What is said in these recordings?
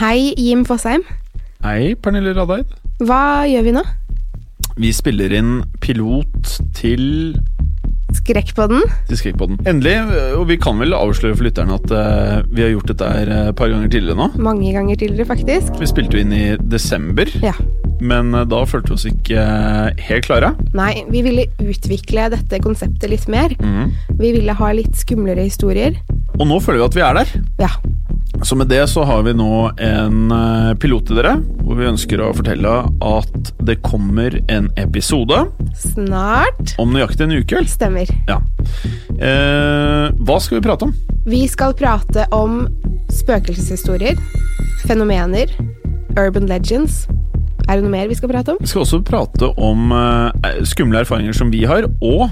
Hei, Jim Fosheim. Hei, Pernille Radeid. Hva gjør vi nå? Vi spiller inn pilot til Skrekk på den? Diskrekkpodden. Endelig, og vi kan vel avsløre for lytterne at eh, vi har gjort dette her eh, et par ganger tidligere nå. Mange ganger tidligere, faktisk. Vi spilte jo inn i desember, Ja. men eh, da følte vi oss ikke eh, helt klare. Nei, vi ville utvikle dette konseptet litt mer. Mhm. Vi ville ha litt skumlere historier. Og nå føler vi at vi er der. Ja. Så med det så har vi nå en eh, pilot til dere, hvor vi ønsker å fortelle at det kommer en episode Snart om nøyaktig en uke. vel? stemmer. Ja. Eh, hva skal vi prate om? Vi skal prate om spøkelseshistorier, fenomener, urban legends. Er det noe mer vi skal prate om? Vi skal også prate om eh, skumle erfaringer som vi har, og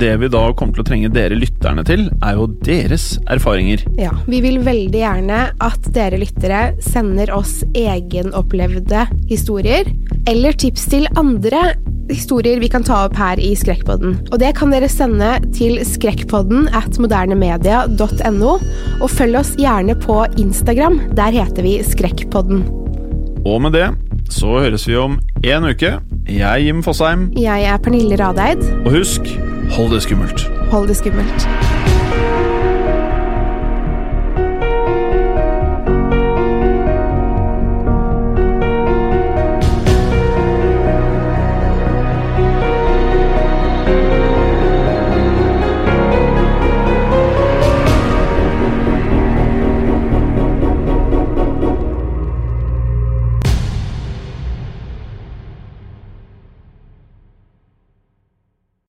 det vi da kommer til å trenge dere lytterne til, er jo deres erfaringer. Ja. Vi vil veldig gjerne at dere lyttere sender oss egenopplevde historier, eller tips til andre historier vi kan ta opp her i Skrekkpodden. Og det kan dere sende til skrekkpodden at modernemedia.no, og følg oss gjerne på Instagram. Der heter vi Skrekkpodden. Og med det så høres vi om én uke. Jeg er Jim Fosheim, Jeg er Pernille Radeid. og husk, hold det skummelt. Hold det skummelt.